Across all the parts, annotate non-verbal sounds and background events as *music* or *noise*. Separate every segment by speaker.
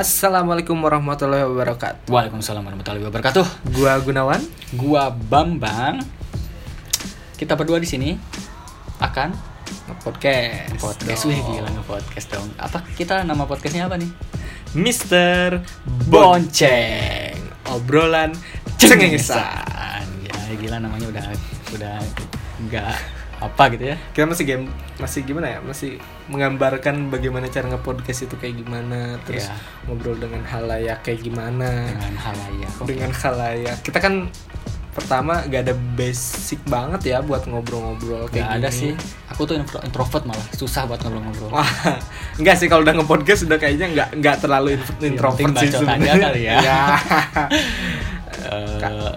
Speaker 1: Assalamualaikum warahmatullahi wabarakatuh.
Speaker 2: Waalaikumsalam warahmatullahi wabarakatuh.
Speaker 1: Gua Gunawan.
Speaker 2: Gua Bambang. Kita berdua di sini akan
Speaker 1: Podcast.
Speaker 2: podcast. Wih, gila nge-podcast dong. Apa kita nama podcastnya apa nih?
Speaker 1: Mister Bon.
Speaker 2: Bonceng.
Speaker 1: Obrolan cengengesan.
Speaker 2: Cengengesan. Ya, gila namanya udah udah enggak apa gitu ya.
Speaker 1: Kita masih game masih gimana ya? Masih menggambarkan bagaimana cara nge-podcast itu kayak gimana, terus
Speaker 2: Iya.
Speaker 1: ngobrol dengan halayak kayak gimana.
Speaker 2: Dengan halayak. Oke.
Speaker 1: Dengan halayak. Kita kan pertama gak ada basic banget ya buat ngobrol-ngobrol
Speaker 2: Nggak
Speaker 1: kayak gini.
Speaker 2: ada
Speaker 1: Ah,
Speaker 2: sih. Aku tuh intro- introvert malah, susah buat ngobrol-ngobrol.
Speaker 1: Wah, enggak sih kalau udah nge-podcast udah kayaknya enggak enggak terlalu in- introvert sih
Speaker 2: penting bacot aja
Speaker 1: sebenarnya.
Speaker 2: kali
Speaker 1: *laughs*
Speaker 2: ya.
Speaker 1: Iya.
Speaker 2: Eh,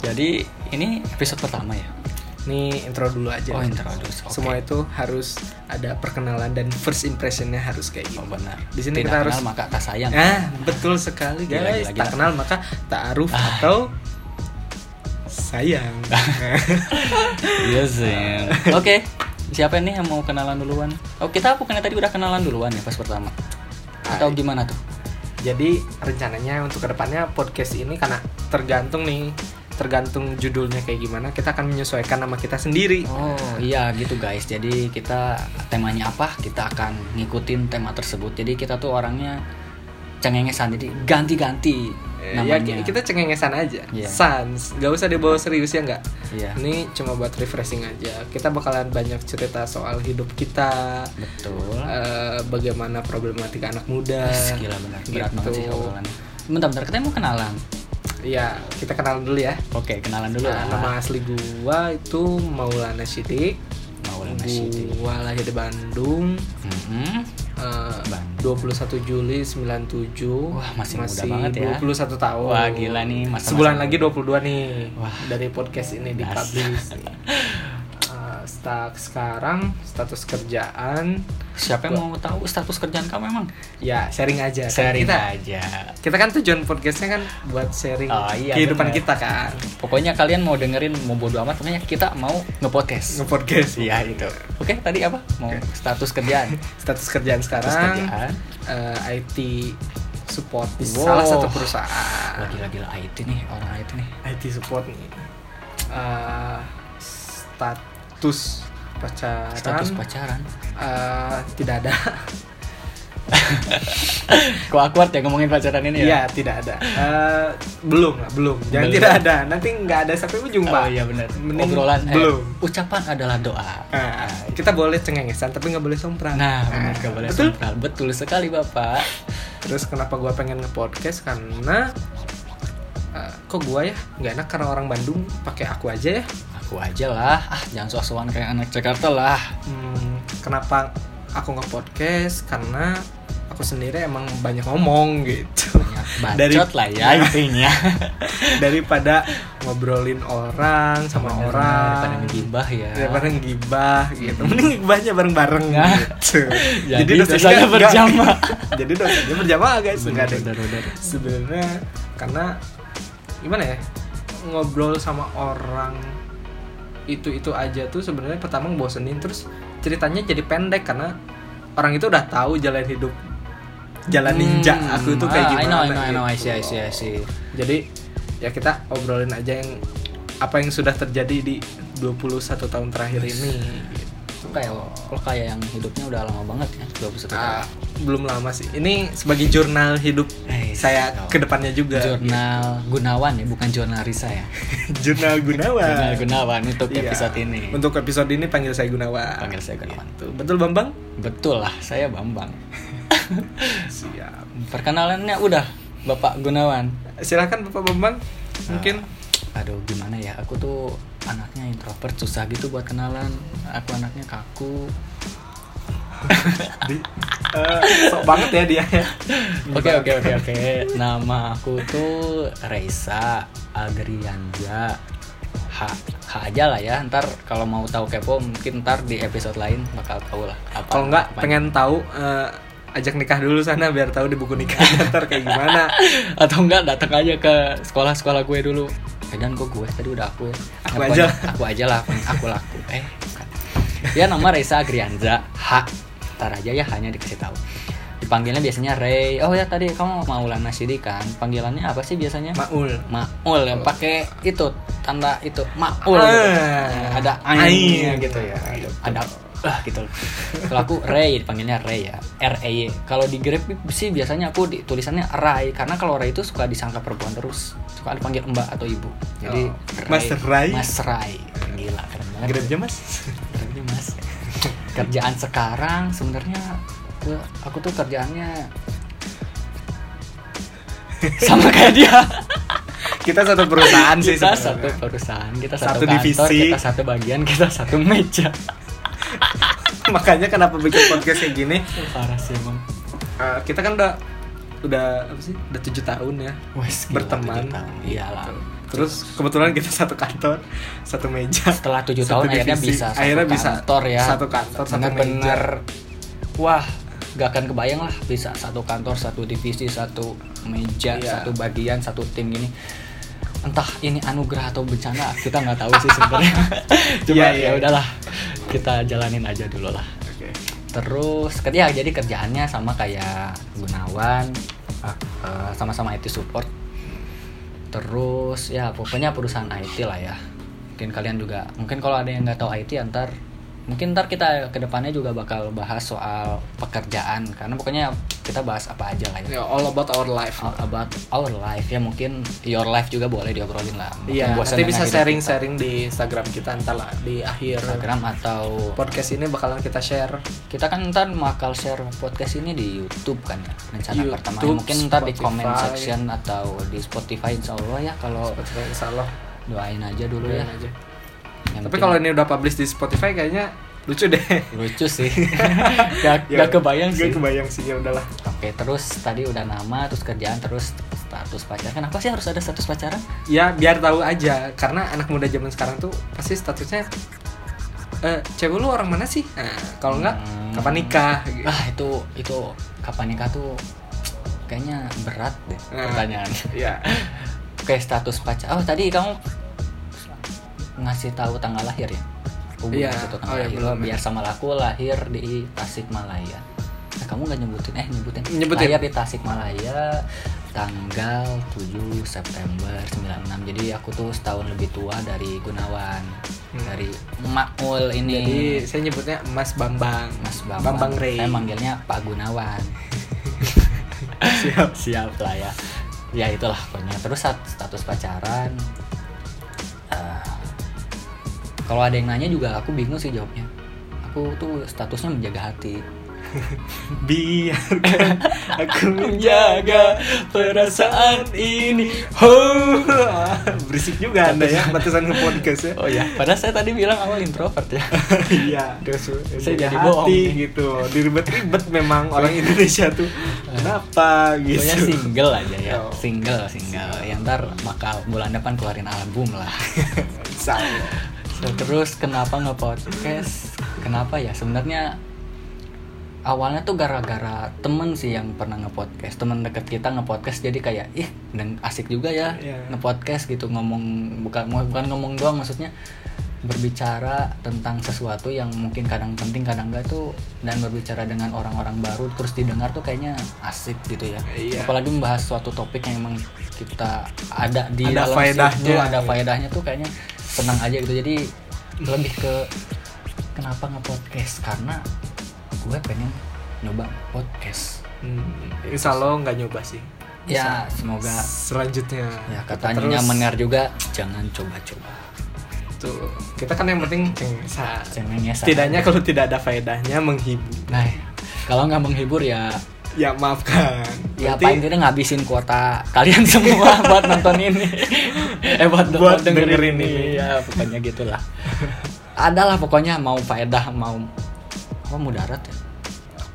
Speaker 2: jadi ini episode pertama ya.
Speaker 1: Nih intro dulu aja.
Speaker 2: Oh, intro dulu. Oke.
Speaker 1: Semua itu harus ada perkenalan dan first impressionnya harus kayak
Speaker 2: Oh,
Speaker 1: gini.
Speaker 2: benar.
Speaker 1: Di sini
Speaker 2: Tidak
Speaker 1: kita
Speaker 2: kenal
Speaker 1: harus-
Speaker 2: maka tak sayang.
Speaker 1: Ah, betul sekali
Speaker 2: Gila,
Speaker 1: guys.
Speaker 2: gila,
Speaker 1: Tak
Speaker 2: gila.
Speaker 1: kenal maka ta'aruf
Speaker 2: Ah.
Speaker 1: atau
Speaker 2: *laughs*
Speaker 1: sayang.
Speaker 2: Iya sih. *laughs* Oke. Siapa nih yang mau kenalan duluan? Oh kita bukannya tadi udah kenalan duluan ya pas pertama? Atau gimana tuh?
Speaker 1: Jadi rencananya untuk kedepannya podcast ini karena tergantung nih tergantung judulnya kayak gimana kita akan menyesuaikan nama kita sendiri.
Speaker 2: Oh iya gitu guys. Jadi kita temanya apa? Kita akan ngikutin tema tersebut. Jadi kita tuh orangnya cengengesan. Jadi ganti-ganti
Speaker 1: Eh, Ya
Speaker 2: namanya.
Speaker 1: ki- kita cengengesan aja,
Speaker 2: Iya.
Speaker 1: sans, gak usah dibawa serius ya nggak.
Speaker 2: Iya.
Speaker 1: Ini cuma buat refreshing aja. Kita bakalan banyak cerita soal hidup kita,
Speaker 2: Betul.
Speaker 1: eh, bagaimana problematika anak muda.
Speaker 2: Wih, Gila benar. Berat banget sih
Speaker 1: gitu.
Speaker 2: obrolannya. Bentar-bentar kita mau kenalan.
Speaker 1: Iya, kita kenal dulu ya.
Speaker 2: Oke kenalan dulu.
Speaker 1: Nah, nama asli gua itu Maulana Sidik.
Speaker 2: Maulana Siddiq.
Speaker 1: Gua lahir di Bandung.
Speaker 2: Mhm.
Speaker 1: eh,
Speaker 2: Bandung.
Speaker 1: 21 Juli 97
Speaker 2: Wah, masih muda banget ya.
Speaker 1: 21 tahun
Speaker 2: Wah, gila nih, masa-masa
Speaker 1: Sebulan
Speaker 2: muda.
Speaker 1: lagi 22 nih
Speaker 2: Wah.
Speaker 1: Dari podcast ini di
Speaker 2: Das.
Speaker 1: publish
Speaker 2: *laughs*
Speaker 1: Eh, sta- Sekarang status kerjaan
Speaker 2: Siapa yang mau tahu status kerjaan kamu emang?
Speaker 1: Ya sharing aja
Speaker 2: Sharing
Speaker 1: kita,
Speaker 2: aja.
Speaker 1: kita kan tujuan podcastnya kan buat sharing
Speaker 2: Oh, iya,
Speaker 1: kehidupan
Speaker 2: bener.
Speaker 1: kita kan
Speaker 2: Pokoknya kalian mau dengerin mau bodo amat pokoknya kita mau ngepodcast.
Speaker 1: Nge-podcast
Speaker 2: Iya itu. Oke, tadi apa? Mau status
Speaker 1: *laughs*
Speaker 2: kerjaan.
Speaker 1: Status kerjaan sekarang
Speaker 2: Status kerjaan.
Speaker 1: eh, IT support di
Speaker 2: Wow.
Speaker 1: salah satu perusahaan
Speaker 2: Wah, Ah, gila-gila IT nih, orang IT nih.
Speaker 1: IT support nih Eh, status pacaran
Speaker 2: Status pacaran.
Speaker 1: eh, tidak
Speaker 2: *laughs*
Speaker 1: ada
Speaker 2: Kok awkward ya ngomongin pacaran ini ya?
Speaker 1: iya tidak ada Eh, belum lah belum jangan
Speaker 2: Belum.
Speaker 1: tidak ada nanti nggak ada sampai ujung
Speaker 2: Oh
Speaker 1: pak
Speaker 2: iya benar.
Speaker 1: Mending
Speaker 2: Obrolan eh,
Speaker 1: belum
Speaker 2: ucapan adalah doa.
Speaker 1: Ah, kita boleh cengengesan tapi nggak boleh sompral
Speaker 2: Nah, benar
Speaker 1: Ah,
Speaker 2: nggak boleh
Speaker 1: betul
Speaker 2: sempral. Betul sekali, Bapak.
Speaker 1: terus kenapa gua pengen nge-podcast karena eh, kok gua ya nggak enak karena orang Bandung pakai aku aja ya
Speaker 2: Aku aja lah. Ah, jangan sok-sokan kayak anak Jakarta lah.
Speaker 1: Hmm, kenapa aku nggak podcast karena aku sendiri emang banyak ngomong gitu
Speaker 2: Bacot
Speaker 1: Dari-
Speaker 2: lah
Speaker 1: *laughs*
Speaker 2: ya intinya.
Speaker 1: daripada ngobrolin orang sama
Speaker 2: Bener,
Speaker 1: orang Iya,
Speaker 2: daripada ngegibah ya.
Speaker 1: daripada ngibah gitu mending ngibahnya bareng-bareng
Speaker 2: Nah.
Speaker 1: gitu
Speaker 2: *laughs* Jadi dosanya
Speaker 1: enggak-
Speaker 2: berjamaah.
Speaker 1: *laughs* jadi dosanya berjamaah guys
Speaker 2: Bener,
Speaker 1: enggak ada
Speaker 2: bener, bener.
Speaker 1: sebenarnya karena gimana ya ngobrol sama orang itu itu aja tuh sebenarnya pertama ngebosenin terus ceritanya jadi pendek karena orang itu udah tahu jalan hidup jalan ninja
Speaker 2: Hmm,
Speaker 1: aku itu kayak
Speaker 2: ah,
Speaker 1: gimana
Speaker 2: I know, I know, I know, I
Speaker 1: gitu.
Speaker 2: see, I see, I see.
Speaker 1: jadi ya kita obrolin aja yang apa yang sudah terjadi di 21 tahun terakhir ini gitu.
Speaker 2: Itu kayak lo kayak yang hidupnya udah lama banget ya,
Speaker 1: Ah,
Speaker 2: 21 tahun.
Speaker 1: belum lama sih ini sebagai jurnal hidup Ah.
Speaker 2: Eh,
Speaker 1: saya
Speaker 2: no.
Speaker 1: kedepannya juga
Speaker 2: Jurnal Gunawan ya, bukan jurnal Risa ya.
Speaker 1: *laughs* jurnal Gunawan
Speaker 2: jurnal Gunawan untuk
Speaker 1: Iya.
Speaker 2: episode ini.
Speaker 1: Untuk episode ini panggil saya Gunawan.
Speaker 2: Panggil saya Gunawan.
Speaker 1: Tuh, betul Bambang?
Speaker 2: Betul lah, saya Bambang.
Speaker 1: Siap.
Speaker 2: Perkenalannya udah Bapak Gunawan.
Speaker 1: Silakan Bapak Bambang. Mungkin
Speaker 2: Ah, aduh gimana ya, aku tuh anaknya introvert, susah gitu buat kenalan. Aku anaknya kaku.
Speaker 1: di-
Speaker 2: Ah.
Speaker 1: eh, sok banget ya
Speaker 2: *laughs*
Speaker 1: dia.
Speaker 2: Oke oke oke oke. Nama aku tuh Reisa Agrianja H H aja lah ya. Ntar kalau mau tahu kepo mungkin ntar di episode lain bakal tahu lah. Apa,
Speaker 1: Kalau nggak
Speaker 2: apanya.
Speaker 1: pengen tahu eh, ajak nikah dulu sana biar tahu di buku nikah ntar kayak gimana.
Speaker 2: *laughs* atau enggak datang aja ke sekolah-sekolah gue dulu. Eh dan kok gue tadi udah aku ya.
Speaker 1: Aku
Speaker 2: Apa-
Speaker 1: aja.
Speaker 2: Aku aja lah. Aku, aku laku. Eh. bukan. Ya nama Reisa Agrianja H. Ntar aja ya hanya dikasih tahu. dipanggilnya biasanya Ray oh ya tadi kamu Maulana Sidi kan panggilannya apa sih biasanya
Speaker 1: Maul.
Speaker 2: Maul yang pakai itu tanda itu Maul gitu.
Speaker 1: Ah.
Speaker 2: Nah, ada ainnya
Speaker 1: Ain.
Speaker 2: gitu ya
Speaker 1: Gitu.
Speaker 2: ada ah gitu kalau aku Ray dipanggilnya Ray ya R E Y kalau di Grab sih biasanya aku di, tulisannya Ray karena kalau Ray itu suka disangka perempuan terus suka dipanggil Mbak atau Ibu jadi
Speaker 1: Oh. Mas Ray?
Speaker 2: Mas Ray gila keren banget
Speaker 1: Grabnya mas?
Speaker 2: Kerja mas kerjaan sekarang sebenarnya gua- aku tuh
Speaker 1: *laughs*
Speaker 2: kerjaannya sama kayak dia
Speaker 1: *laughs* Kita satu perusahaan sih
Speaker 2: kita
Speaker 1: sebenarnya.
Speaker 2: satu perusahaan kita satu,
Speaker 1: Satu
Speaker 2: kantor
Speaker 1: divisi.
Speaker 2: kita satu bagian kita satu meja
Speaker 1: *laughs* Makanya kenapa bikin podcast kayak gini?
Speaker 2: parah sih emang
Speaker 1: Eh, kita kan udah udah apa sih? Udah tujuh tahun ya
Speaker 2: Wes, gila,
Speaker 1: berteman.
Speaker 2: tujuh tahun. iyalah
Speaker 1: Terus kebetulan kita *laughs* satu kantor, satu meja.
Speaker 2: setelah tujuh
Speaker 1: satu
Speaker 2: tahun akhirnya
Speaker 1: divisi.
Speaker 2: bisa satu
Speaker 1: Akhirnya bisa
Speaker 2: kantor ya
Speaker 1: Satu kantor, satu meja.
Speaker 2: bener-bener wah gak akan kebayang lah bisa satu kantor satu divisi satu
Speaker 1: Iya.
Speaker 2: meja satu bagian satu tim gini entah ini anugerah atau bencana kita nggak tahu sih
Speaker 1: *laughs*
Speaker 2: sebenarnya cuma
Speaker 1: Iya, iya.
Speaker 2: ya udahlah kita jalanin aja dulu lah
Speaker 1: Oke.
Speaker 2: terus kerja jadi kerjaannya sama kayak Gunawan
Speaker 1: Ah.
Speaker 2: eh, eh, sama-sama IT support terus ya pokoknya perusahaan IT lah ya mungkin kalian juga mungkin kalau ada yang nggak tahu IT antar mungkin ntar kita kedepannya juga bakal bahas soal pekerjaan karena pokoknya kita bahas apa aja lah
Speaker 1: Ya,
Speaker 2: ya
Speaker 1: all about our life.
Speaker 2: All about our life ya mungkin your life juga boleh diobrolin lah Mungkin
Speaker 1: Iya,
Speaker 2: bosan
Speaker 1: nanti
Speaker 2: dengan
Speaker 1: bisa
Speaker 2: hidup
Speaker 1: sharing-sharing di Instagram kita ntar lah di akhir
Speaker 2: kita. Instagram atau
Speaker 1: podcast ini bakalan kita share
Speaker 2: kita kan ntar bakal share podcast ini di YouTube kan ya rencana
Speaker 1: YouTube,
Speaker 2: pertama mungkin ntar di
Speaker 1: Spotify.
Speaker 2: comment section atau di Spotify Insya Allah ya kalau
Speaker 1: Spotify insya Allah.
Speaker 2: doain aja dulu
Speaker 1: Doain
Speaker 2: ya
Speaker 1: aja.
Speaker 2: Yang
Speaker 1: Tapi
Speaker 2: penting
Speaker 1: kalau ini udah publish di Spotify kayaknya lucu
Speaker 2: *laughs*
Speaker 1: deh.
Speaker 2: lucu
Speaker 1: *laughs*
Speaker 2: sih gak,
Speaker 1: Ya,
Speaker 2: gak kebayang sih
Speaker 1: Gak kebayang sih ya udahlah.
Speaker 2: oke terus tadi udah nama terus kerjaan terus status pacaran kenapa sih harus ada status pacaran
Speaker 1: Ya biar tahu aja karena anak muda zaman sekarang tuh pasti statusnya eh cewek lu orang mana sih? Nah, kalau enggak
Speaker 2: Hmm.
Speaker 1: kapan nikah? Gitu.
Speaker 2: ah itu itu kapan nikah tuh kayaknya berat deh
Speaker 1: Nah.
Speaker 2: pertanyaan
Speaker 1: Ya.
Speaker 2: oke status pacar oh tadi kamu ngasih tahu tanggal lahir ya aku belum
Speaker 1: Iya.
Speaker 2: ngasih tahu tanggal
Speaker 1: Oh, iya,
Speaker 2: lahir
Speaker 1: belum ya.
Speaker 2: biar sama laku lahir di Tasikmalaya nah, kamu nggak nyebutin eh nyebutin
Speaker 1: Nyebutin.
Speaker 2: lahir di Tasikmalaya tanggal 7 September 96 jadi aku tuh setahun lebih tua dari Gunawan
Speaker 1: Hmm.
Speaker 2: dari Maul ini
Speaker 1: Jadi saya nyebutnya Mas Bambang. *laughs*
Speaker 2: Mas Bambang,
Speaker 1: Bambang Rey.
Speaker 2: saya manggilnya Pak Gunawan
Speaker 1: Siap.
Speaker 2: siap lah ya ya itulah pokoknya terus saat status pacaran eh, kalau ada yang nanya juga aku bingung sih jawabnya aku tuh statusnya menjaga hati
Speaker 1: Biarkan aku
Speaker 2: *laughs*
Speaker 1: *laughs*
Speaker 2: menjaga perasaan ini
Speaker 1: Oh, berisik juga anda ya batasan podcast ya.
Speaker 2: oh ya padahal saya tadi bilang awal introvert ya
Speaker 1: iya.
Speaker 2: terus saya
Speaker 1: Jaga
Speaker 2: jadi bohong
Speaker 1: hati
Speaker 2: nih.
Speaker 1: gitu, diribet-ribet memang orang Indonesia
Speaker 2: *laughs*
Speaker 1: tuh. Kenapa gitu?
Speaker 2: Pokoknya single aja ya
Speaker 1: Oh.
Speaker 2: single single yang ntar bakal bulan depan keluarin album lah
Speaker 1: Insya Allah.
Speaker 2: Terus kenapa nggak podcast? Kenapa ya? Sebenarnya awalnya tuh gara-gara temen sih yang pernah ngepodcast temen deket kita ngepodcast jadi kayak ih deng- asik juga ya
Speaker 1: Iya.
Speaker 2: ngepodcast gitu ngomong bukan bukan ngomong doang maksudnya berbicara tentang sesuatu yang mungkin kadang penting kadang enggak tuh dan berbicara dengan orang-orang baru terus didengar tuh kayaknya asik gitu ya
Speaker 1: Iya.
Speaker 2: apalagi membahas suatu topik yang emang kita ada di
Speaker 1: Ada
Speaker 2: dalam
Speaker 1: faedahnya.
Speaker 2: situ, ada faedahnya tuh kayaknya senang aja gitu jadi lebih ke kenapa nge podcast karena gue pengen nyoba podcast
Speaker 1: Hmm, Insya Allah nggak nyoba sih.
Speaker 2: ya semoga
Speaker 1: Selanjutnya.
Speaker 2: ya
Speaker 1: Terus,
Speaker 2: katanya mener juga jangan coba-coba
Speaker 1: Tuh, kita kan yang penting cengsa.
Speaker 2: Cengeng ya, Sa.
Speaker 1: Setidaknya kalau tidak ada faedahnya menghibur.
Speaker 2: nah kalau nggak menghibur ya
Speaker 1: Ya maafkan.
Speaker 2: ya
Speaker 1: Berarti
Speaker 2: paling tidak ngabisin kuota kalian *laughs* semua buat nonton
Speaker 1: *laughs*
Speaker 2: ini eh buat,
Speaker 1: Buat dengerin ini.
Speaker 2: ya pokoknya gitulah adalah pokoknya mau faedah mau apa mudarat ya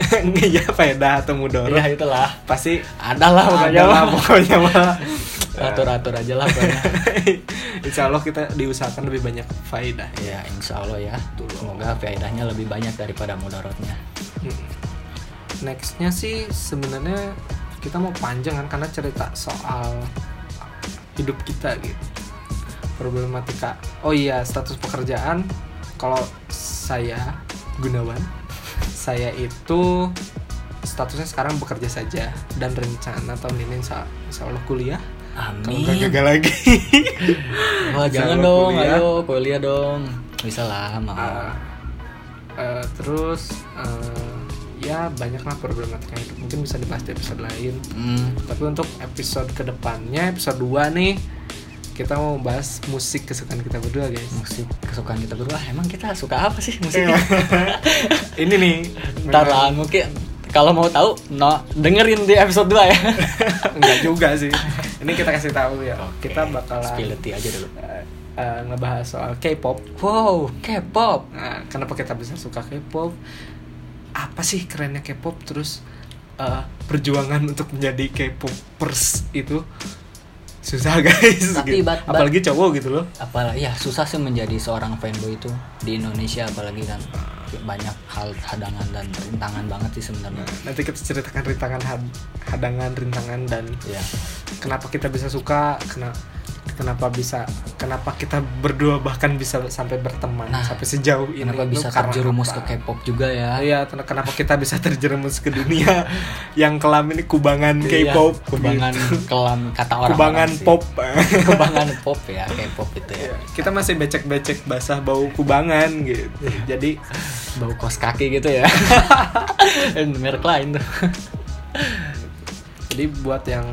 Speaker 1: *laughs* nggak ya faedah atau mudorot
Speaker 2: ya itulah
Speaker 1: pasti
Speaker 2: adalah pokoknya
Speaker 1: ada lah
Speaker 2: mah.
Speaker 1: pokoknya mah. *laughs*
Speaker 2: atur-atur aja lah pokoknya
Speaker 1: Insya Allah kita diusahakan lebih banyak faedah.
Speaker 2: ya insya Allah ya semoga faedahnya lebih banyak daripada mudaratnya
Speaker 1: Hmm. Nextnya sih sebenarnya kita mau panjang kan karena cerita soal hidup kita gitu problematika. Oh iya status pekerjaan *laughs* kalau saya Gunawan saya itu status statusnya sekarang bekerja saja dan rencana tahun ini insya, insya Allah kuliah
Speaker 2: Amin.
Speaker 1: kalau nggak gagal lagi
Speaker 2: Wah,
Speaker 1: Insya
Speaker 2: jangan
Speaker 1: Allah
Speaker 2: dong,
Speaker 1: kuliah.
Speaker 2: ayo kuliah dong. Bisa lah, mau.
Speaker 1: Eh, eh, terus eh, ya banyaklah problematika hidup mungkin bisa dibahas di episode lain
Speaker 2: Hmm,
Speaker 1: tapi untuk episode kedepannya episode 2 nih kita mau bahas musik kesukaan kita berdua guys
Speaker 2: *laughs* musik kesukaan kita berdua. Emang kita suka apa sih musiknya?
Speaker 1: Iya. ini nih
Speaker 2: *laughs* Ntar lah, mungkin kalau mau tahu, no, dengerin di episode 2 ya.
Speaker 1: *laughs* enggak juga sih ini kita kasih tahu ya kita
Speaker 2: Oke,
Speaker 1: bakalan
Speaker 2: spill it aja dulu.
Speaker 1: eh, eh, ngebahas soal K-pop
Speaker 2: Wow, K-pop.
Speaker 1: Nah, kenapa kita bisa suka K-pop? Apa sih kerennya K-pop? Terus eh, perjuangan untuk menjadi K-popers itu susah *laughs* guys.
Speaker 2: Tapi
Speaker 1: gitu.
Speaker 2: bat- bat-
Speaker 1: Apalagi cowok gitu loh.
Speaker 2: apalagi ya susah sih menjadi seorang fanboy itu di Indonesia apalagi kan banyak hal hadangan dan rintangan banget sih sebenarnya
Speaker 1: Nanti kita ceritakan rintangan had- hadangan, rintangan dan
Speaker 2: ya
Speaker 1: kenapa kita bisa suka, kena- kenapa bisa kenapa kita berdua bahkan bisa sampai berteman
Speaker 2: Nah,
Speaker 1: sampai sejauh ini
Speaker 2: kenapa
Speaker 1: tuh
Speaker 2: bisa
Speaker 1: karena
Speaker 2: terjerumus
Speaker 1: apa?
Speaker 2: ke K-pop juga
Speaker 1: Ah,
Speaker 2: ya
Speaker 1: Iya, ten- kenapa kita bisa terjerumus ke dunia *laughs* yang kelam ini kubangan
Speaker 2: Iya,
Speaker 1: K-pop,
Speaker 2: kubangan
Speaker 1: gitu.
Speaker 2: kelam kata orang
Speaker 1: kubangan
Speaker 2: *laughs*
Speaker 1: pop. *laughs*
Speaker 2: kubangan pop ya K-pop itu
Speaker 1: Iya,
Speaker 2: ya
Speaker 1: kita masih becek-becek basah bau kubangan gitu.
Speaker 2: Iya.
Speaker 1: Jadi
Speaker 2: bau kos kaki gitu
Speaker 1: *laughs*
Speaker 2: ya Eh, merek lain tuh
Speaker 1: jadi buat yang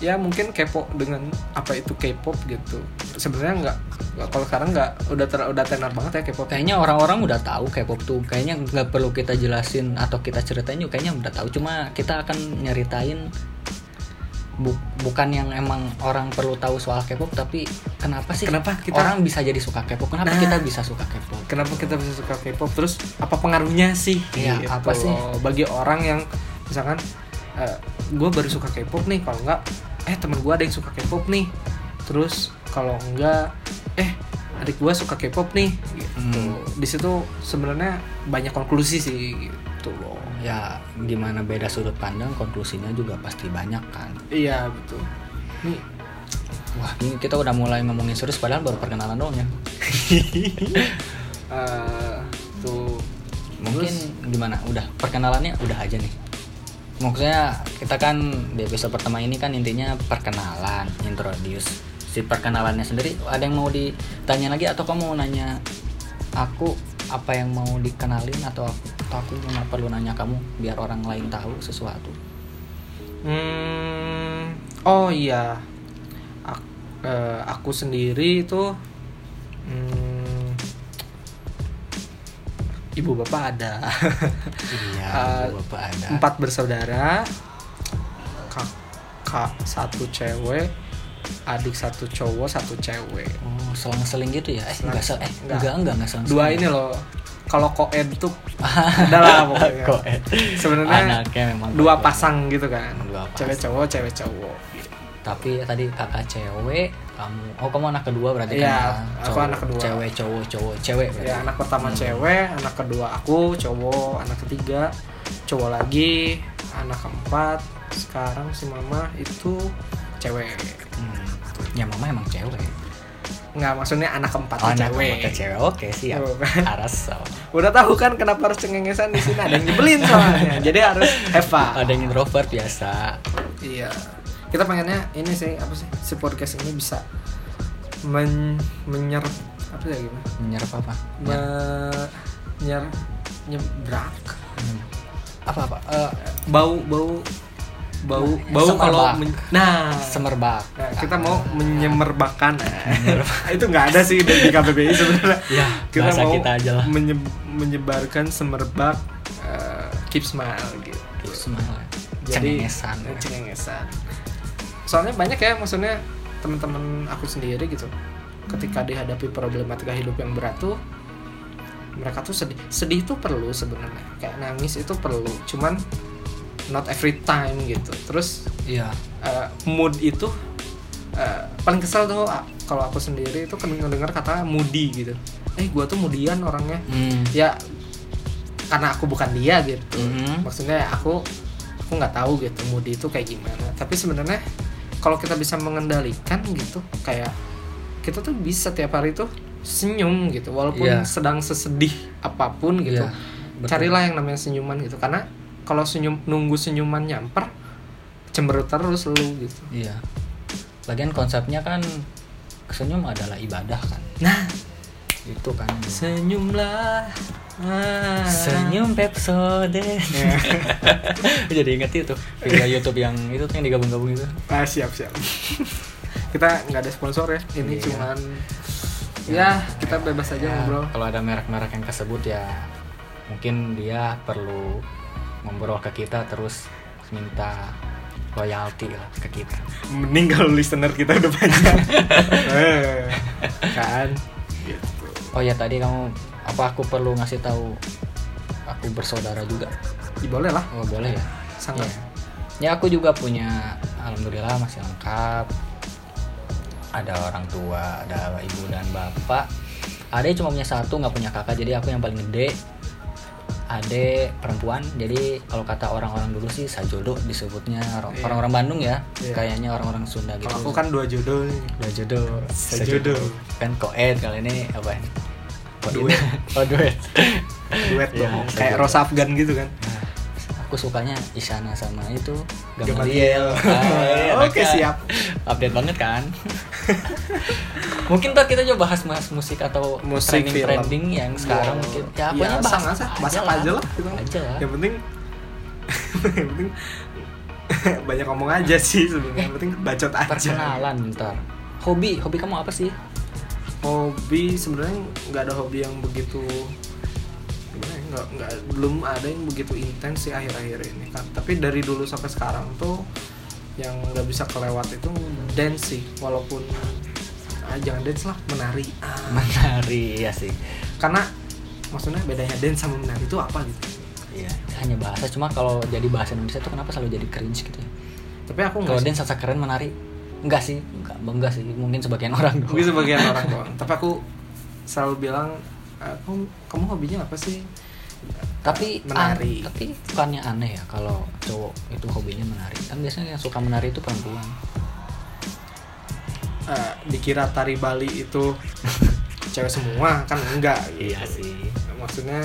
Speaker 1: ya mungkin kepo dengan apa itu K-pop gitu. Sebenarnya nggak nggak- kalau sekarang nggak udah ter, udah tenar banget ya K-pop.
Speaker 2: kayaknya orang-orang udah tahu K-pop tuh kayaknya nggak perlu kita jelasin atau kita ceritain juga kayaknya udah tahu cuma kita akan nyeritain bu- bukan yang emang orang perlu tahu soal K-pop tapi kenapa sih
Speaker 1: Kenapa kita-
Speaker 2: orang bisa jadi suka K-pop kenapa
Speaker 1: Nah.
Speaker 2: kita bisa suka K-pop
Speaker 1: Kenapa kita bisa suka K-pop? Terus apa pengaruhnya sih? Gitu.
Speaker 2: Iya, apa sih?
Speaker 1: Bagi orang yang misalkan gue baru suka K-pop nih, kalau nggak eh temen gue ada yang suka K-pop nih. Terus kalau enggak eh adik gue suka K-pop nih. Gitu.
Speaker 2: Hmm.
Speaker 1: Di situ sebenarnya banyak konklusi sih gitu loh.
Speaker 2: ya gimana beda sudut pandang konklusinya juga pasti banyak kan
Speaker 1: Iya betul. Nih
Speaker 2: wah ini kita udah mulai ngomongin serius padahal baru perkenalan doang ya
Speaker 1: eh, tuh
Speaker 2: mungkin
Speaker 1: Terus?
Speaker 2: gimana udah perkenalannya udah aja nih maksudnya kita kan di episode pertama ini kan intinya perkenalan introduce si perkenalannya sendiri ada yang mau ditanya lagi atau kamu mau nanya aku apa yang mau dikenalin atau aku, atau aku nggak perlu nanya kamu biar orang lain tahu sesuatu
Speaker 1: Hmm, oh iya, Ak- eh, aku sendiri itu hmm, ibu bapak ada *laughs*
Speaker 2: iya
Speaker 1: ibu
Speaker 2: bapak ada
Speaker 1: empat bersaudara, kakak satu cewek, adik satu cowok satu cewek.
Speaker 2: oh selang-seling gitu ya eh
Speaker 1: Selang-
Speaker 2: enggak sel- eh
Speaker 1: enggak.
Speaker 2: enggak enggak enggak selang
Speaker 1: Dua
Speaker 2: *laughs*
Speaker 1: ini loh, kalau koed tuh adalah pokoknya.
Speaker 2: Koed.
Speaker 1: Sebenarnya
Speaker 2: eh. Anaknya memang
Speaker 1: dua
Speaker 2: koed.
Speaker 1: pasang gitu kan,
Speaker 2: Dua pasang.
Speaker 1: cewek cowok cewek cowok.
Speaker 2: tapi ya tadi kakak cewek kamu oh kamu anak kedua berarti
Speaker 1: Iya,
Speaker 2: kan
Speaker 1: aku anak kedua.
Speaker 2: cewek cowok cowok cewek berarti
Speaker 1: ya anak pertama cewek anak kedua aku cowok anak ketiga cowok lagi anak keempat sekarang si mama itu cewek
Speaker 2: Hmm. ya mama emang cewek Oh,
Speaker 1: nggak maksudnya anak keempat tuh
Speaker 2: anak
Speaker 1: cewek
Speaker 2: maka cewek oke siap
Speaker 1: Tuh.
Speaker 2: *laughs* aras so.
Speaker 1: udah tahu kan kenapa harus cengengesan di sini ada yang nyebelin
Speaker 2: *laughs*
Speaker 1: soalnya jadi harus Eva
Speaker 2: ada yang introvert biasa
Speaker 1: iya kita pengennya ini sih apa sih si podcast ini bisa men menyer apa ya gimana
Speaker 2: menyerap apa
Speaker 1: Me- nyer nyebrak
Speaker 2: Hmm. apa apa Eh,
Speaker 1: bau bau bau bau
Speaker 2: Semerbak.
Speaker 1: kalau men- nah,
Speaker 2: semerbak
Speaker 1: nah, kita mau menyemerbakan *laughs* itu nggak ada sih di di KBBI *laughs* sebenarnya
Speaker 2: Ya,
Speaker 1: kita
Speaker 2: bahasa
Speaker 1: mau
Speaker 2: kita aja lah.
Speaker 1: menye- menyebarkan semerbak eh, keep smile gitu
Speaker 2: semangat
Speaker 1: jadi
Speaker 2: cengengesan
Speaker 1: eh, cengengesan soalnya banyak ya maksudnya teman-teman aku sendiri gitu ketika dihadapi problematika hidup yang berat tuh mereka tuh sedih sedih tuh perlu sebenarnya kayak nangis itu perlu cuman not every time gitu terus
Speaker 2: iya
Speaker 1: eh, mood itu eh, paling kesel tuh ah, kalau aku sendiri itu dengar kata moody gitu eh gua tuh moodian orangnya
Speaker 2: Hmm.
Speaker 1: ya karena aku bukan dia gitu
Speaker 2: Mhm.
Speaker 1: maksudnya aku aku nggak tahu gitu moody itu kayak gimana tapi sebenarnya kalau kita bisa mengendalikan gitu kayak kita tuh bisa tiap hari tuh senyum gitu walaupun
Speaker 2: Iya.
Speaker 1: sedang sesedih apapun gitu
Speaker 2: Iya, betul.
Speaker 1: carilah yang namanya senyuman gitu karena kalau senyum nunggu senyuman nyamper cemberut terus lu gitu
Speaker 2: Iya. Lagian konsepnya kan senyum adalah ibadah kan.
Speaker 1: nah
Speaker 2: Itu kan.
Speaker 1: senyumlah Ah.
Speaker 2: Senyum Pepsode. *laughs* Jadi inget itu video YouTube yang itu tuh yang digabung-gabung itu.
Speaker 1: ah siap *laughs* siap kita nggak ada sponsor ya ini
Speaker 2: Iya.
Speaker 1: cuman ya, kita bebas aja
Speaker 2: Ya,
Speaker 1: ngobrol
Speaker 2: Kalau ada merek-merek yang tersebut ya mungkin dia perlu ngobrol ke kita terus minta loyalty lah ke kita.
Speaker 1: mending kalau listener kita udah *laughs* banyak Eh, kan gitu
Speaker 2: Oh ya tadi kamu apa aku perlu ngasih tahu aku bersaudara juga?
Speaker 1: Ya, boleh lah
Speaker 2: Oh boleh ya.
Speaker 1: sangat
Speaker 2: Iya. Ya aku juga punya alhamdulillah masih lengkap. Ada orang tua, ada ibu dan bapak. Adek cuma punya satu, nggak punya kakak, jadi aku yang paling gede. Adek perempuan, jadi kalau kata orang-orang dulu sih sajodo disebutnya Orang-
Speaker 1: Iya.
Speaker 2: orang-orang Bandung ya,
Speaker 1: Iya.
Speaker 2: kayaknya orang-orang Sunda gitu.
Speaker 1: kalau aku kan dua jodoh nih.
Speaker 2: Dua jodoh,
Speaker 1: Sajodo.
Speaker 2: Kan koed kali ini apa ya? ini? Koed. *laughs*
Speaker 1: Duet.
Speaker 2: oh duet.
Speaker 1: duet
Speaker 2: Iya,
Speaker 1: dong
Speaker 2: sajodo.
Speaker 1: kayak Rosa Afgan gitu kan
Speaker 2: Nah, aku sukanya Isyana sama itu
Speaker 1: Gamaliel.
Speaker 2: Gamaliel.
Speaker 1: *laughs*
Speaker 2: Ah,
Speaker 1: Oke,
Speaker 2: anaknya
Speaker 1: siap.
Speaker 2: Update banget kan? *laughs* mungkin tuh kita coba bahas bahas musik atau
Speaker 1: Musik,
Speaker 2: trending
Speaker 1: film.
Speaker 2: trending yang sekarang
Speaker 1: Wow.
Speaker 2: mungkin.
Speaker 1: Ya,
Speaker 2: Ya pokoknya bahas
Speaker 1: sama, sama. Masak aja lah, gitu.
Speaker 2: Aja lah.
Speaker 1: yang penting *laughs* yang penting *laughs* banyak ngomong aja sih sebenarnya yang penting bacot aja
Speaker 2: Perkenalan bentar. Hobi, hobi kamu apa sih? *laughs*
Speaker 1: hobi sebenarnya nggak ada hobi yang begitu gimana ya, nggak nggak belum ada yang begitu intens sih akhir-akhir ini kan tapi dari dulu sampai sekarang tuh yang nggak bisa kelewat itu dance sih walaupun ah, jangan dance lah menari Ah,
Speaker 2: Menari ya sih.
Speaker 1: karena maksudnya bedanya dance sama menari itu apa gitu
Speaker 2: Iya. Hanya bahasa cuma kalau jadi bahasa Indonesia tuh kenapa selalu jadi cringe gitu ya?
Speaker 1: tapi aku nggak
Speaker 2: Kalau dance sasa keren menari. Enggak sih, enggak, enggak sih. Mungkin sebagian orang doang.
Speaker 1: mungkin sebagian orang doang tapi aku selalu bilang aku kamu hobinya apa sih
Speaker 2: tapi
Speaker 1: Menari.
Speaker 2: an- tapi bukannya aneh ya kalau cowok itu hobinya menari kan biasanya yang suka menari itu perempuan
Speaker 1: Eh, dikira tari Bali
Speaker 2: *laughs*
Speaker 1: itu cewek semua kan enggak gitu.
Speaker 2: sih
Speaker 1: maksudnya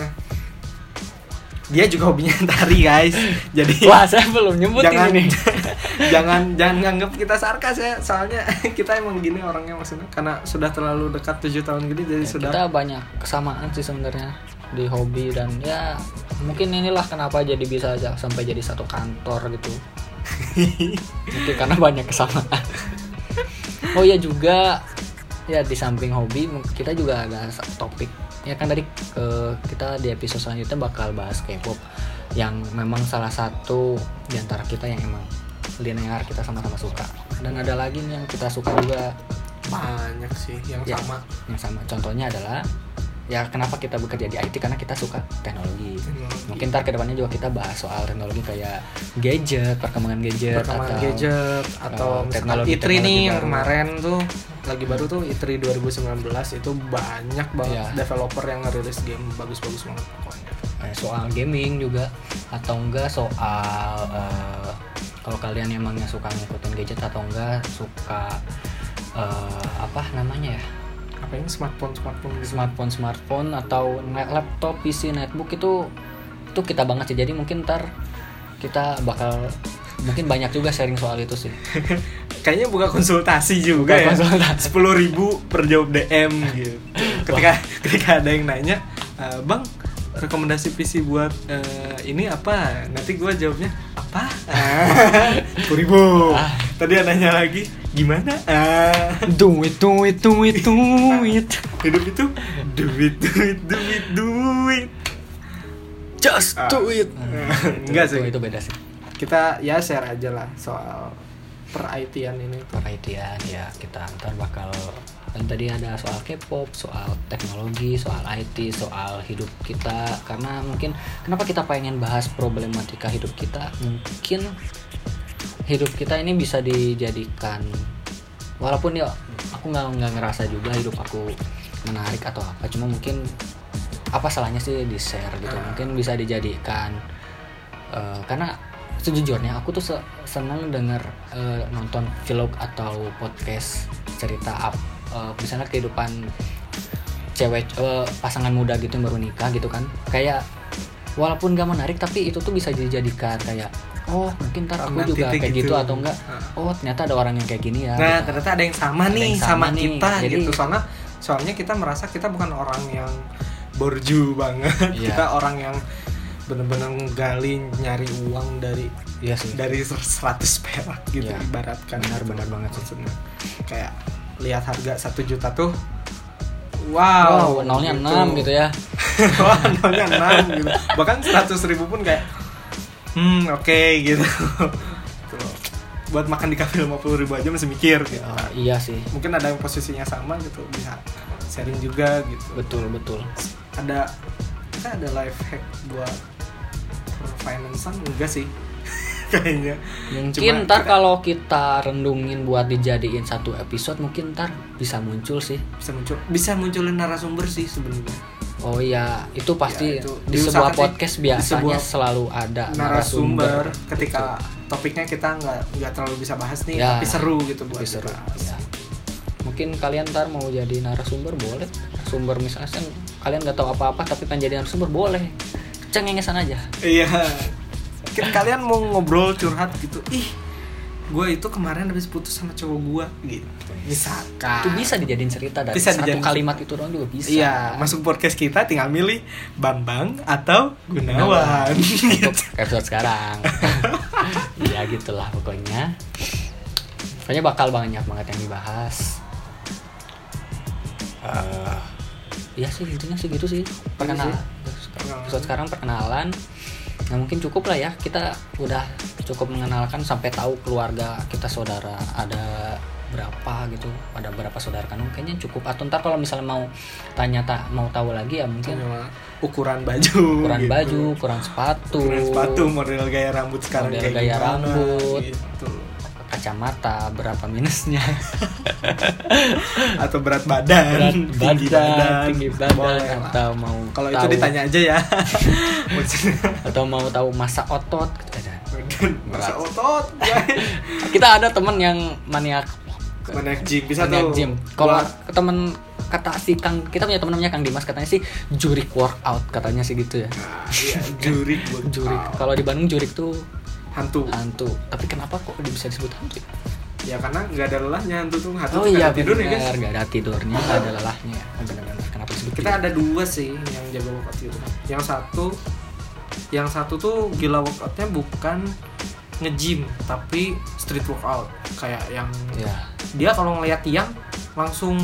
Speaker 1: dia juga hobinya *laughs* tari guys jadi
Speaker 2: wah saya belum nyebutin
Speaker 1: jangan
Speaker 2: ini
Speaker 1: *laughs* jangan jangan nganggap kita sarkas ya soalnya *laughs* kita emang gini orangnya maksudnya karena sudah terlalu dekat tujuh tahun gini jadi
Speaker 2: Ya,
Speaker 1: sudah
Speaker 2: kita banyak kesamaan sih sebenarnya di hobi dan ya mungkin inilah kenapa jadi bisa aja sampai jadi satu kantor
Speaker 1: *laughs*
Speaker 2: gitu mungkin karena banyak kesamaan oh ya juga ya di samping hobi mung- kita juga ada sa- topik ya kan tadi eh, kita di episode selanjutnya bakal bahas K-pop yang memang salah satu di antara kita yang emang linear kita sama-sama suka dan ada lagi nih yang kita suka juga
Speaker 1: banyak sih yang
Speaker 2: Ya.
Speaker 1: sama
Speaker 2: yang sama contohnya adalah ya kenapa kita bekerja di IT karena kita suka teknologi
Speaker 1: Teknologi.
Speaker 2: mungkin ntar kedepannya juga kita bahas soal teknologi kayak gadget perkembangan gadget
Speaker 1: perkembangan
Speaker 2: ya, atau
Speaker 1: gadget atau
Speaker 2: eh,
Speaker 1: misalkan
Speaker 2: teknologi-
Speaker 1: ITRI nih
Speaker 2: teknologi
Speaker 1: yang
Speaker 2: baru.
Speaker 1: kemarin tuh lagi baru tuh E ITRI 2019 itu banyak banget
Speaker 2: Iya.
Speaker 1: developer yang ngerilis game bagus-bagus banget pokoknya.
Speaker 2: eh, soal gaming juga atau enggak soal eh, kalau kalian emangnya suka ngikutin gadget atau enggak suka eh, apa namanya ya
Speaker 1: Apa yang smartphone smartphone gitu.
Speaker 2: smartphone smartphone atau net- laptop PC netbook itu itu kita banget sih jadi mungkin ntar kita bakal mungkin banyak juga sharing soal itu sih
Speaker 1: Kayaknya buka konsultasi juga
Speaker 2: Buka
Speaker 1: ya.
Speaker 2: konsultasi.
Speaker 1: Sepuluh ribu per jawab DM
Speaker 2: *laughs*
Speaker 1: gitu. Ketika ketika ada yang nanya, "Eh, bang rekomendasi PC buat eh, ini apa? Nanti gua jawabnya
Speaker 2: *laughs*
Speaker 1: apa? Sepuluh ribu.
Speaker 2: Ah.
Speaker 1: Tadi ada nanya lagi, gimana? Ah.
Speaker 2: duit duit duit duit
Speaker 1: *laughs* hidup itu duit duit duit duit
Speaker 2: just
Speaker 1: Ah.
Speaker 2: do it
Speaker 1: *laughs* Enggak sih.
Speaker 2: itu, itu beda sih
Speaker 1: kita ya share aja lah soal per IT-an ini tuh
Speaker 2: perhatian ya kita ntar bakal kan tadi ada soal K-pop, soal teknologi, soal IT, soal hidup kita karena mungkin kenapa kita pengen bahas problematika hidup kita mungkin hidup kita ini bisa dijadikan walaupun ya aku nggak nggak ngerasa juga hidup aku menarik atau apa cuma mungkin apa salahnya sih di share gitu
Speaker 1: Ah.
Speaker 2: mungkin bisa dijadikan eh, karena sejujurnya aku tuh se- seneng denger eh, nonton vlog atau podcast cerita up eh, misalnya kehidupan cewek eh, pasangan muda gitu yang baru nikah gitu kan kayak walaupun gak menarik tapi itu tuh bisa dijadikan kayak oh mungkin ntar aku
Speaker 1: Nanti
Speaker 2: juga
Speaker 1: tuh
Speaker 2: kayak gitu,
Speaker 1: gitu.
Speaker 2: atau enggak
Speaker 1: Heeh.
Speaker 2: oh ternyata ada orang yang kayak gini ya
Speaker 1: nah
Speaker 2: gitu.
Speaker 1: ternyata ada yang sama
Speaker 2: Ada
Speaker 1: nih
Speaker 2: yang
Speaker 1: sama,
Speaker 2: sama nih.
Speaker 1: kita
Speaker 2: Jadi-
Speaker 1: gitu soalnya soalnya kita merasa kita bukan orang yang borju banget
Speaker 2: Iya.
Speaker 1: kita orang yang bener-bener gali nyari uang dari
Speaker 2: iya sih
Speaker 1: dari 100 perak gitu
Speaker 2: Iya.
Speaker 1: ibaratkan
Speaker 2: Benar-benar banget sih.
Speaker 1: maksudnya kayak lihat harga satu juta tuh wow,
Speaker 2: oh, nolnya enam gitu ya
Speaker 1: *laughs* Wah, nolnya enam gitu bahkan 100 ribu pun kayak hmm oke gitu Tuh. buat makan di kafe 50 ribu aja masih mikir gitu
Speaker 2: Oh, iya sih
Speaker 1: mungkin ada yang posisinya sama gitu bisa sharing juga gitu
Speaker 2: betul betul
Speaker 1: ada kita ada life hack buat financean enggak sih *laughs* kayaknya Cuma
Speaker 2: mungkin ntar
Speaker 1: kita-
Speaker 2: kalau kita rendungin buat dijadiin satu episode mungkin ntar bisa muncul sih
Speaker 1: bisa muncul bisa munculin narasumber sih sebenarnya
Speaker 2: oh iya itu pasti
Speaker 1: Ya, itu.
Speaker 2: di sebuah
Speaker 1: Diusahakan sih.
Speaker 2: podcast
Speaker 1: Di
Speaker 2: biasanya
Speaker 1: sebuah
Speaker 2: selalu ada
Speaker 1: narasumber ketika topiknya kita nggak nggak terlalu bisa bahas nih
Speaker 2: Ya,
Speaker 1: tapi seru gitu buat
Speaker 2: Lebih seru,
Speaker 1: dibahas.
Speaker 2: ya. mungkin kalian ntar mau jadi narasumber boleh sumber misalnya sen- kalian nggak tahu apa-apa tapi pengen jadi narasumber boleh cengengesan aja
Speaker 1: iya mungkin kalian mau ngobrol curhat gitu ih gue itu kemarin habis putus sama cowok gue gitu misalkan
Speaker 2: itu bisa dijadiin cerita
Speaker 1: Ah.
Speaker 2: dari
Speaker 1: Bisa
Speaker 2: satu
Speaker 1: dijadiin
Speaker 2: kalimat itu doang juga bisa
Speaker 1: Iya, masuk podcast kita tinggal milih Bambang atau *laughs* Gunawan. Gitu.
Speaker 2: Gunawan. untuk episode *laughs* sekarang ya gitulah pokoknya pokoknya bakal banyak banget yang dibahas Eh, Iya sih intinya sih gitu sih perkenalan episode sekarang perkenalan nah mungkin cukup lah ya kita udah cukup mengenalkan sampai tahu keluarga kita saudara ada berapa gitu ada berapa saudara kandung kayaknya cukup atau ntar kalau misalnya mau tanya tak mau tahu lagi ya mungkin
Speaker 1: Cuma ukuran baju,
Speaker 2: ukuran
Speaker 1: gitu.
Speaker 2: baju, ukuran Oh, sepatu,
Speaker 1: ukuran sepatu, model gaya rambut sekarang
Speaker 2: Model
Speaker 1: kayak
Speaker 2: gaya
Speaker 1: gimana,
Speaker 2: rambut.
Speaker 1: gitu.
Speaker 2: kacamata, berapa minusnya,
Speaker 1: atau *laughs* berat badan, *laughs*
Speaker 2: berat
Speaker 1: tinggi
Speaker 2: badan, tinggi badan,
Speaker 1: Boleh lah.
Speaker 2: atau mau
Speaker 1: Kalau itu
Speaker 2: tahu-
Speaker 1: ditanya aja
Speaker 2: *laughs*
Speaker 1: ya. Maksudnya,
Speaker 2: atau mau tahu masa otot. gitu. Ada.
Speaker 1: badan, masa
Speaker 2: Berat. *laughs*
Speaker 1: otot, guys.
Speaker 2: Kita ada temen yang maniak
Speaker 1: Mana gym bisa
Speaker 2: maniak
Speaker 1: tuh.
Speaker 2: gym. Kalau
Speaker 1: Wah,
Speaker 2: temen kata si Kang, kita punya temen namanya Kang Dimas katanya sih jurik workout katanya sih gitu ya.
Speaker 1: nah, iya, jurik buat
Speaker 2: Jurik. Kalau di Bandung jurik tuh
Speaker 1: hantu.
Speaker 2: hantu. Tapi kenapa kok bisa disebut hantu? ya?
Speaker 1: Ya karena nggak ada lelahnya hantu tuh hantu
Speaker 2: Oh
Speaker 1: tuh nggak
Speaker 2: iya
Speaker 1: ada tidur ya,
Speaker 2: bener,
Speaker 1: guys.
Speaker 2: nggak ada tidurnya, nggak ada lelahnya. Benar-benar kenapa disebut
Speaker 1: kita ada dua sih yang jago workout gitu yang satu yang satu tuh gila workoutnya bukan nge-gym tapi street workout kayak yang
Speaker 2: ya.
Speaker 1: dia kalau ngelihat tiang langsung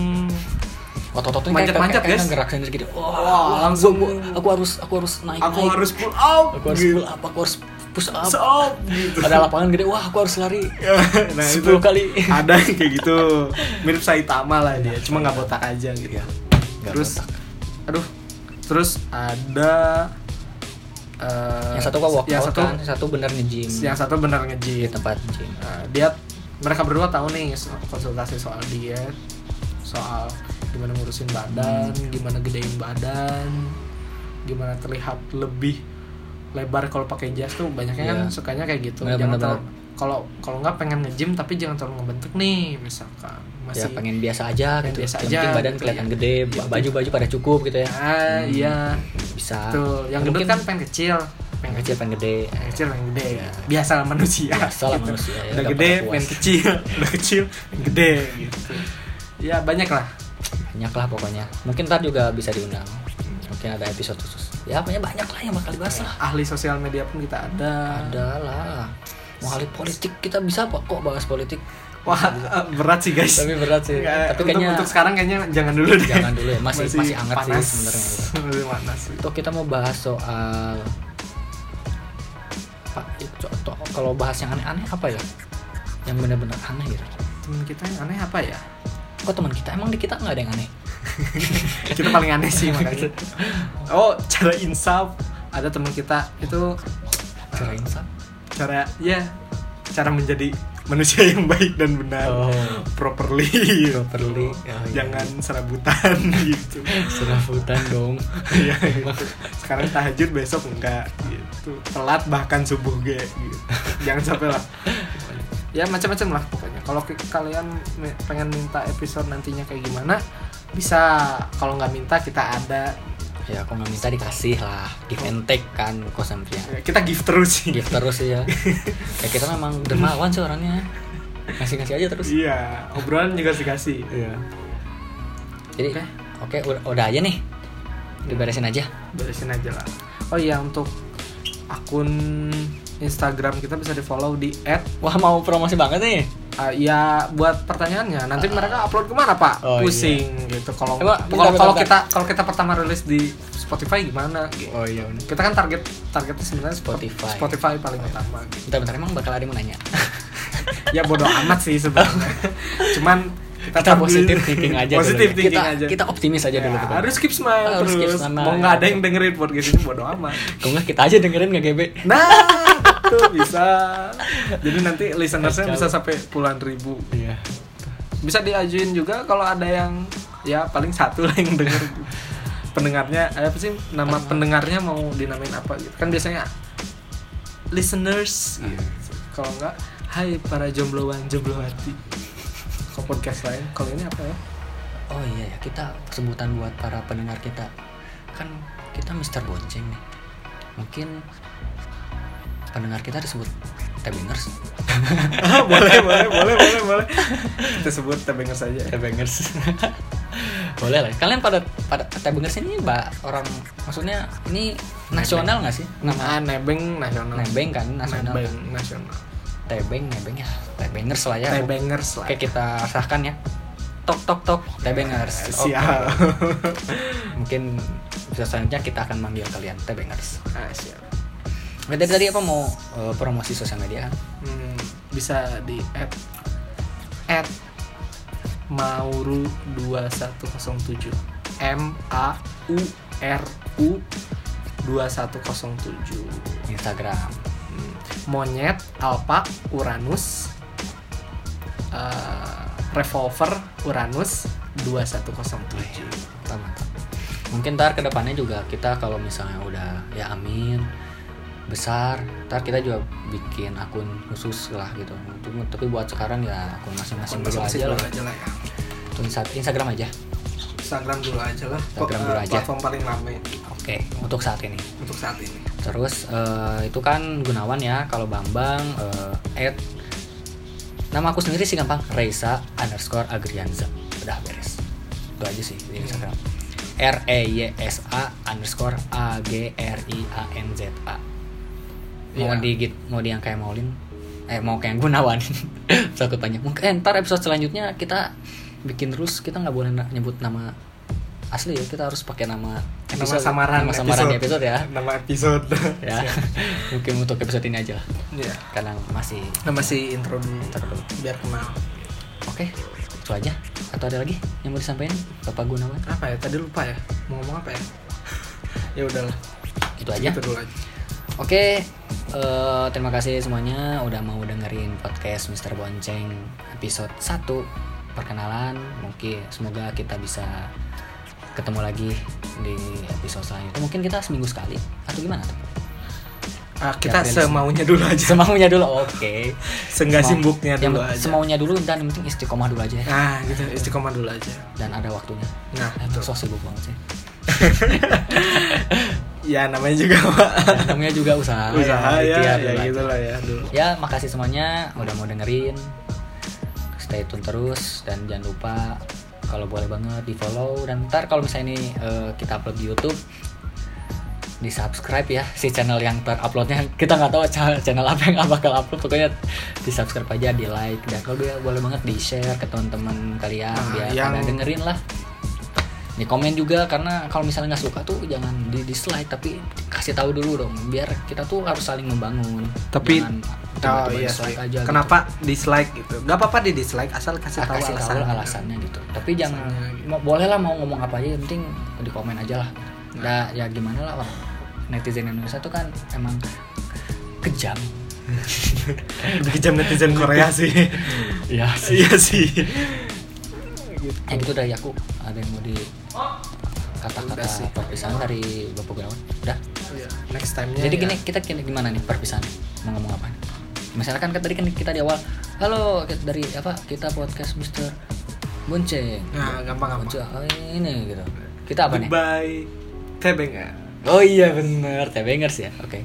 Speaker 2: otot-ototnya
Speaker 1: Manjat-manjat,
Speaker 2: kayak, kayak,
Speaker 1: guys.
Speaker 2: kayak gerak sendiri gitu. Wah,
Speaker 1: Wah,
Speaker 2: wah,
Speaker 1: langsung.
Speaker 2: gua- gua- aku harus aku harus naik
Speaker 1: aku
Speaker 2: naik.
Speaker 1: harus pull out
Speaker 2: aku harus
Speaker 1: gitu.
Speaker 2: pull up, aku harus push up.
Speaker 1: Push up, gitu.
Speaker 2: Ada
Speaker 1: *laughs*
Speaker 2: lapangan gede, wah aku harus lari
Speaker 1: nah itu
Speaker 2: 10 kali.
Speaker 1: ada yang kayak gitu mirip Saitama lah dia cuma nggak botak aja gitu
Speaker 2: Iya. Nggak
Speaker 1: terus
Speaker 2: botak.
Speaker 1: aduh terus ada eh,
Speaker 2: Yang satu kok walkout
Speaker 1: yang satu
Speaker 2: kan, yang satu bener nge-gym
Speaker 1: yang satu benar
Speaker 2: di
Speaker 1: nge-gym
Speaker 2: tempat gym.
Speaker 1: Nah, dia mereka berdua tahu nih so- konsultasi soal diet, soal gimana ngurusin badan,
Speaker 2: Hmm.
Speaker 1: gimana gedein badan, gimana terlihat lebih lebar kalau pakai jas tuh banyaknya kan
Speaker 2: Iya.
Speaker 1: sukanya kayak gitu.
Speaker 2: Bener,
Speaker 1: jangan
Speaker 2: bener,
Speaker 1: terlalu- kalau kalau nggak pengen nge-gym tapi jangan terlalu ngebentuk nih misalkan
Speaker 2: Ya
Speaker 1: masih
Speaker 2: pengen biasa aja
Speaker 1: Pengen
Speaker 2: gitu.
Speaker 1: biasa
Speaker 2: Yang
Speaker 1: aja,
Speaker 2: penting badan
Speaker 1: gitu,
Speaker 2: kelihatan
Speaker 1: ya.
Speaker 2: gede,
Speaker 1: Yang
Speaker 2: baju-baju pada cukup gitu ya.
Speaker 1: ah iya
Speaker 2: Hmm. Bisa.
Speaker 1: tuh yang
Speaker 2: Ah. Ya, Mungkin
Speaker 1: gendut kan pengen kecil
Speaker 2: pengen kecil pengen gede.
Speaker 1: pengen kecil pengen gede
Speaker 2: Iya.
Speaker 1: biasa lah manusia
Speaker 2: Biasa lah manusia, ya,
Speaker 1: Gitu. udah
Speaker 2: nggak
Speaker 1: gede
Speaker 2: pernah puas.
Speaker 1: pengen kecil *laughs* udah kecil pengen gede gitu ya banyak lah
Speaker 2: Banyak lah pokoknya. Mungkin ntar juga bisa diundang. Mungkin ada episode khusus. Ya pokoknya banyak lah yang bakal dibahas lah.
Speaker 1: ahli sosial media pun kita ada
Speaker 2: Ada lah. Mau ahli politik kita bisa apa kok bahas politik?
Speaker 1: wah eh, berat sih guys
Speaker 2: Tapi berat sih.
Speaker 1: Nggak,
Speaker 2: Tapi
Speaker 1: untuk,
Speaker 2: kayaknya
Speaker 1: untuk sekarang kayaknya jangan dulu deh
Speaker 2: Jangan dulu ya, masih- masih hangat sih
Speaker 1: panas.
Speaker 2: sebenarnya.
Speaker 1: masih panas sih.
Speaker 2: itu kita mau bahas soal Pak, itu- to- kalau bahas yang aneh-aneh apa ya? Yang benar-benar aneh gitu.
Speaker 1: temen kita yang aneh apa ya
Speaker 2: Kok teman kita emang di kita nggak ada yang aneh?
Speaker 1: kita paling aneh sih makanya
Speaker 2: *laughs*
Speaker 1: oh cara insaf ada teman kita itu
Speaker 2: Cara insan.
Speaker 1: cara ya cara menjadi manusia yang baik dan benar
Speaker 2: Oh.
Speaker 1: properly
Speaker 2: Properly.
Speaker 1: Gitu.
Speaker 2: Oh, iya.
Speaker 1: jangan serabutan *laughs* gitu
Speaker 2: Serabutan dong.
Speaker 1: Iya, gitu. sekarang tahajud besok enggak gitu telat bahkan subuh ge gitu. jangan sampai lah ya macam-macam lah pokoknya kalau ki- kalian mi- pengen minta episode nantinya kayak gimana bisa kalau nggak minta kita ada
Speaker 2: ya kalau minta dikasih lah give and take kan kosan pria
Speaker 1: kita give terus sih
Speaker 2: give terus *laughs* ya ya kita memang dermawan sih orangnya ngasih ngasih aja terus
Speaker 1: iya obrolan juga harus dikasih
Speaker 2: Iya. Jadi oke udah, udah aja nih. Diberesin aja.
Speaker 1: beresin aja lah oh iya untuk akun Instagram kita bisa di follow di at
Speaker 2: Wah, mau promosi banget nih.
Speaker 1: Ah, ya buat pertanyaannya nanti mereka upload kemana pak
Speaker 2: Ah. Oh, iya.
Speaker 1: pusing gitu kalau
Speaker 2: Emang,
Speaker 1: kalau-
Speaker 2: bentar, bentar,
Speaker 1: kalau
Speaker 2: bentar.
Speaker 1: kita kalau kita pertama rilis di Spotify gimana gitu.
Speaker 2: Oh iya bener.
Speaker 1: kita kan target targetnya sebenarnya
Speaker 2: Spotify. Oh, iya.
Speaker 1: Spotify paling utama gitu.
Speaker 2: Bentar bentar emang bakal ada yang mau *laughs* nanya.
Speaker 1: ya bodoh amat sih
Speaker 2: *laughs*
Speaker 1: sebenarnya cuman kita,
Speaker 2: Kita
Speaker 1: tampilin-
Speaker 2: positif thinking aja dulu
Speaker 1: positive
Speaker 2: ya.
Speaker 1: thinking
Speaker 2: kita,
Speaker 1: aja
Speaker 2: Kita optimis aja
Speaker 1: Ya,
Speaker 2: dulu kita.
Speaker 1: harus keep smile
Speaker 2: Harus keep
Speaker 1: terus
Speaker 2: smile,
Speaker 1: mau
Speaker 2: ya.
Speaker 1: nggak ada yang dengerin podcast ini bodoh amat
Speaker 2: Kalau nggak kita aja dengerin nggak GB.
Speaker 1: nah itu bisa jadi nanti listenersnya
Speaker 2: Kacau.
Speaker 1: bisa sampai puluhan ribu
Speaker 2: Iya.
Speaker 1: bisa diajuin juga kalau ada yang ya paling satu lah yang denger pendengarnya eh, apa sih nama pendengarnya mau dinamain apa gitu kan biasanya listeners
Speaker 2: Iya.
Speaker 1: gitu. kalau enggak hai para jombloan jomblowati kalau podcast lain kalau ini apa ya *laughs*
Speaker 2: Oh iya ya, kita sebutan buat para pendengar kita. Kan kita Mr. Bonceng nih. Mungkin pendengar kita disebut Tabingers.
Speaker 1: Ah, boleh boleh boleh boleh boleh kita sebut tebengar saja
Speaker 2: Tabingers. *laughs* Boleh lah. Kalian pada pada Tabingers ini mbak orang maksudnya ini nasional nggak sih?
Speaker 1: ah
Speaker 2: Nama
Speaker 1: nebeng nasional
Speaker 2: Nah. Nebeng kan nasional.
Speaker 1: nebeng
Speaker 2: kan?
Speaker 1: nasional
Speaker 2: Tebeng, nebeng ya. Tebengers lah ya.
Speaker 1: nebengers lah
Speaker 2: Oke, kita sahkan ya. Tok tok tok Tebengers.
Speaker 1: Eh,
Speaker 2: Oke.
Speaker 1: siap
Speaker 2: Mungkin bisa selanjutnya kita akan manggil kalian Tebengers.
Speaker 1: Ah, siap
Speaker 2: Nah, dari tadi apa mau eh, promosi sosial media kan?
Speaker 1: Hmm, bisa di add add mauru 2107 M A U R U 2107
Speaker 2: Instagram.
Speaker 1: Hmm, monyet alpa uranus eh, revolver uranus 2107
Speaker 2: Mantap, mantap. Mungkin ntar kedepannya juga kita kalau misalnya udah ya amin besar, ntar kita juga bikin akun khusus lah gitu. Untuk- Tapi buat sekarang ya akun masing-masing dulu aja lah.
Speaker 1: aja lah ya
Speaker 2: Akun Insta- Instagram aja.
Speaker 1: Instagram dulu aja lah
Speaker 2: Instagram dulu
Speaker 1: Eh,
Speaker 2: aja.
Speaker 1: platform paling ramai
Speaker 2: Oke, untuk saat ini.
Speaker 1: untuk saat ini
Speaker 2: Terus eh, itu kan Gunawan ya, kalau Bambang eh, at nama aku sendiri sih gampang Reisa underscore Agrianza udah beres itu aja sih di Instagram R E Y S A underscore A G R I A N Z A mau
Speaker 1: Iya.
Speaker 2: digit mau di yang kayak Maulin eh mau kayak Gunawan *laughs* takut banyak mungkin eh, ntar episode selanjutnya kita bikin terus kita nggak boleh na- nyebut nama asli ya kita harus pakai nama
Speaker 1: nama
Speaker 2: episode
Speaker 1: samaran
Speaker 2: nama samaran di episode ya
Speaker 1: nama episode
Speaker 2: *laughs* ya mungkin untuk episode ini aja lah
Speaker 1: Iya.
Speaker 2: karena masih
Speaker 1: Nah, masih intro dulu
Speaker 2: Ntar dulu.
Speaker 1: biar kenal.
Speaker 2: oke itu aja atau ada lagi yang mau disampaikan bapak gunawan
Speaker 1: Apa ya? Tadi lupa ya. Mau ngomong
Speaker 2: *laughs*
Speaker 1: apa ya? ya udahlah.
Speaker 2: itu aja
Speaker 1: Itu dulu aja.
Speaker 2: oke eh, terima kasih semuanya udah mau dengerin podcast Mr. Bonceng episode 1 perkenalan mungkin semoga kita bisa ketemu lagi di episode selanjutnya mungkin kita seminggu sekali atau gimana tuh *laughs*
Speaker 1: Ah, kita
Speaker 2: Gabriel.
Speaker 1: semaunya dulu aja.
Speaker 2: semaunya dulu oke
Speaker 1: *laughs* Seenggak
Speaker 2: Semau-
Speaker 1: sibuknya
Speaker 2: yang
Speaker 1: dulu
Speaker 2: penting
Speaker 1: aja.
Speaker 2: semaunya dulu dan yang penting istiqomah dulu aja ya.
Speaker 1: Nah, gitu istiqomah dulu aja.
Speaker 2: dan ada waktunya
Speaker 1: Nah,
Speaker 2: Emang so sibuk banget sih
Speaker 1: ya namanya juga Pak.
Speaker 2: namanya juga usaha
Speaker 1: usaha ya,
Speaker 2: ikhtiar
Speaker 1: ya,
Speaker 2: dulu aja.
Speaker 1: gitu lah ya dulu.
Speaker 2: ya makasih semuanya udah mau dengerin stay tune terus dan jangan lupa kalau boleh banget di follow dan ntar kalau misalnya ini eh, kita upload di YouTube di subscribe ya si channel yang teruploadnya *laughs* kita nggak tahu cha- channel apa yang bakal upload pokoknya di subscribe aja di like dan kalau dia boleh banget di share ke teman-teman kalian
Speaker 1: Nah,
Speaker 2: biar
Speaker 1: yang-
Speaker 2: pada dengerin lah di komen juga karena kalau misalnya nggak suka tuh jangan di dislike tapi kasih tahu dulu dong biar kita tuh harus saling membangun
Speaker 1: Tapi-
Speaker 2: Jangan
Speaker 1: Oh
Speaker 2: tiba-tiba
Speaker 1: iya
Speaker 2: dislike
Speaker 1: sih.
Speaker 2: aja gitu.
Speaker 1: Kenapa dislike gitu? Gak apa-apa di dislike asal kasih
Speaker 2: Ah,
Speaker 1: tahu
Speaker 2: kasih tahu
Speaker 1: alasannya.
Speaker 2: alasannya gitu tapi jangan
Speaker 1: Alasannya gitu.
Speaker 2: mau- boleh lah mau ngomong apa aja yang penting di komen aja lah nah, ya gimana lah orang netizen Indonesia tuh kan emang kejam
Speaker 1: *laughs* Udah jam netizen Korea sih.
Speaker 2: *laughs* ya
Speaker 1: Iya sih. Gitu.
Speaker 2: ya gitu dari aku ada yang mau di kata-kata
Speaker 1: Udah sih.
Speaker 2: perpisahan dari bapak gunawan udah
Speaker 1: Iya, Next time-nya.
Speaker 2: Jadi
Speaker 1: ya.
Speaker 2: gini kita gini- gimana nih perpisahan mau ngomong apa? Misalkan kan tadi kan kita di awal, halo kita- dari apa kita podcast Mister Bonceng.
Speaker 1: Nah, gampang-gampang.
Speaker 2: Bonceng, oh, ini gitu. Kita apa nih?
Speaker 1: Goodbye. ya? tebengan
Speaker 2: Oh iya bener, Tebengers ya. Oke.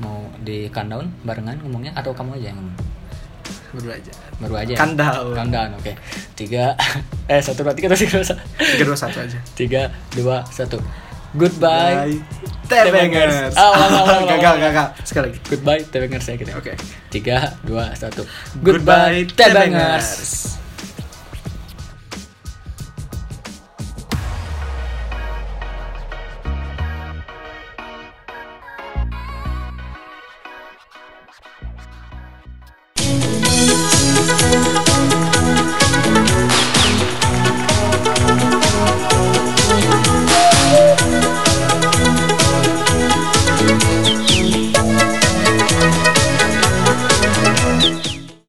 Speaker 2: Mau di countdown barengan ngomongnya atau kamu aja yang ngomong?
Speaker 1: berdua aja
Speaker 2: Baru aja. ya?
Speaker 1: Countdown.
Speaker 2: Countdown, oke. Tiga *laughs* eh satu dua tiga terus tiga dua, satu.
Speaker 1: tiga dua satu aja
Speaker 2: Tiga dua satu. Goodbye.
Speaker 1: tebengers
Speaker 2: Ah,
Speaker 1: *laughs*
Speaker 2: ulang, ulang, ulang,
Speaker 1: gagal
Speaker 2: ulang.
Speaker 1: gagal sekali lagi
Speaker 2: Goodbye Tebengers ya kita.
Speaker 1: oke
Speaker 2: Tiga dua satu.
Speaker 1: Goodbye,
Speaker 2: Goodbye, Tebengers.
Speaker 1: Tebengers.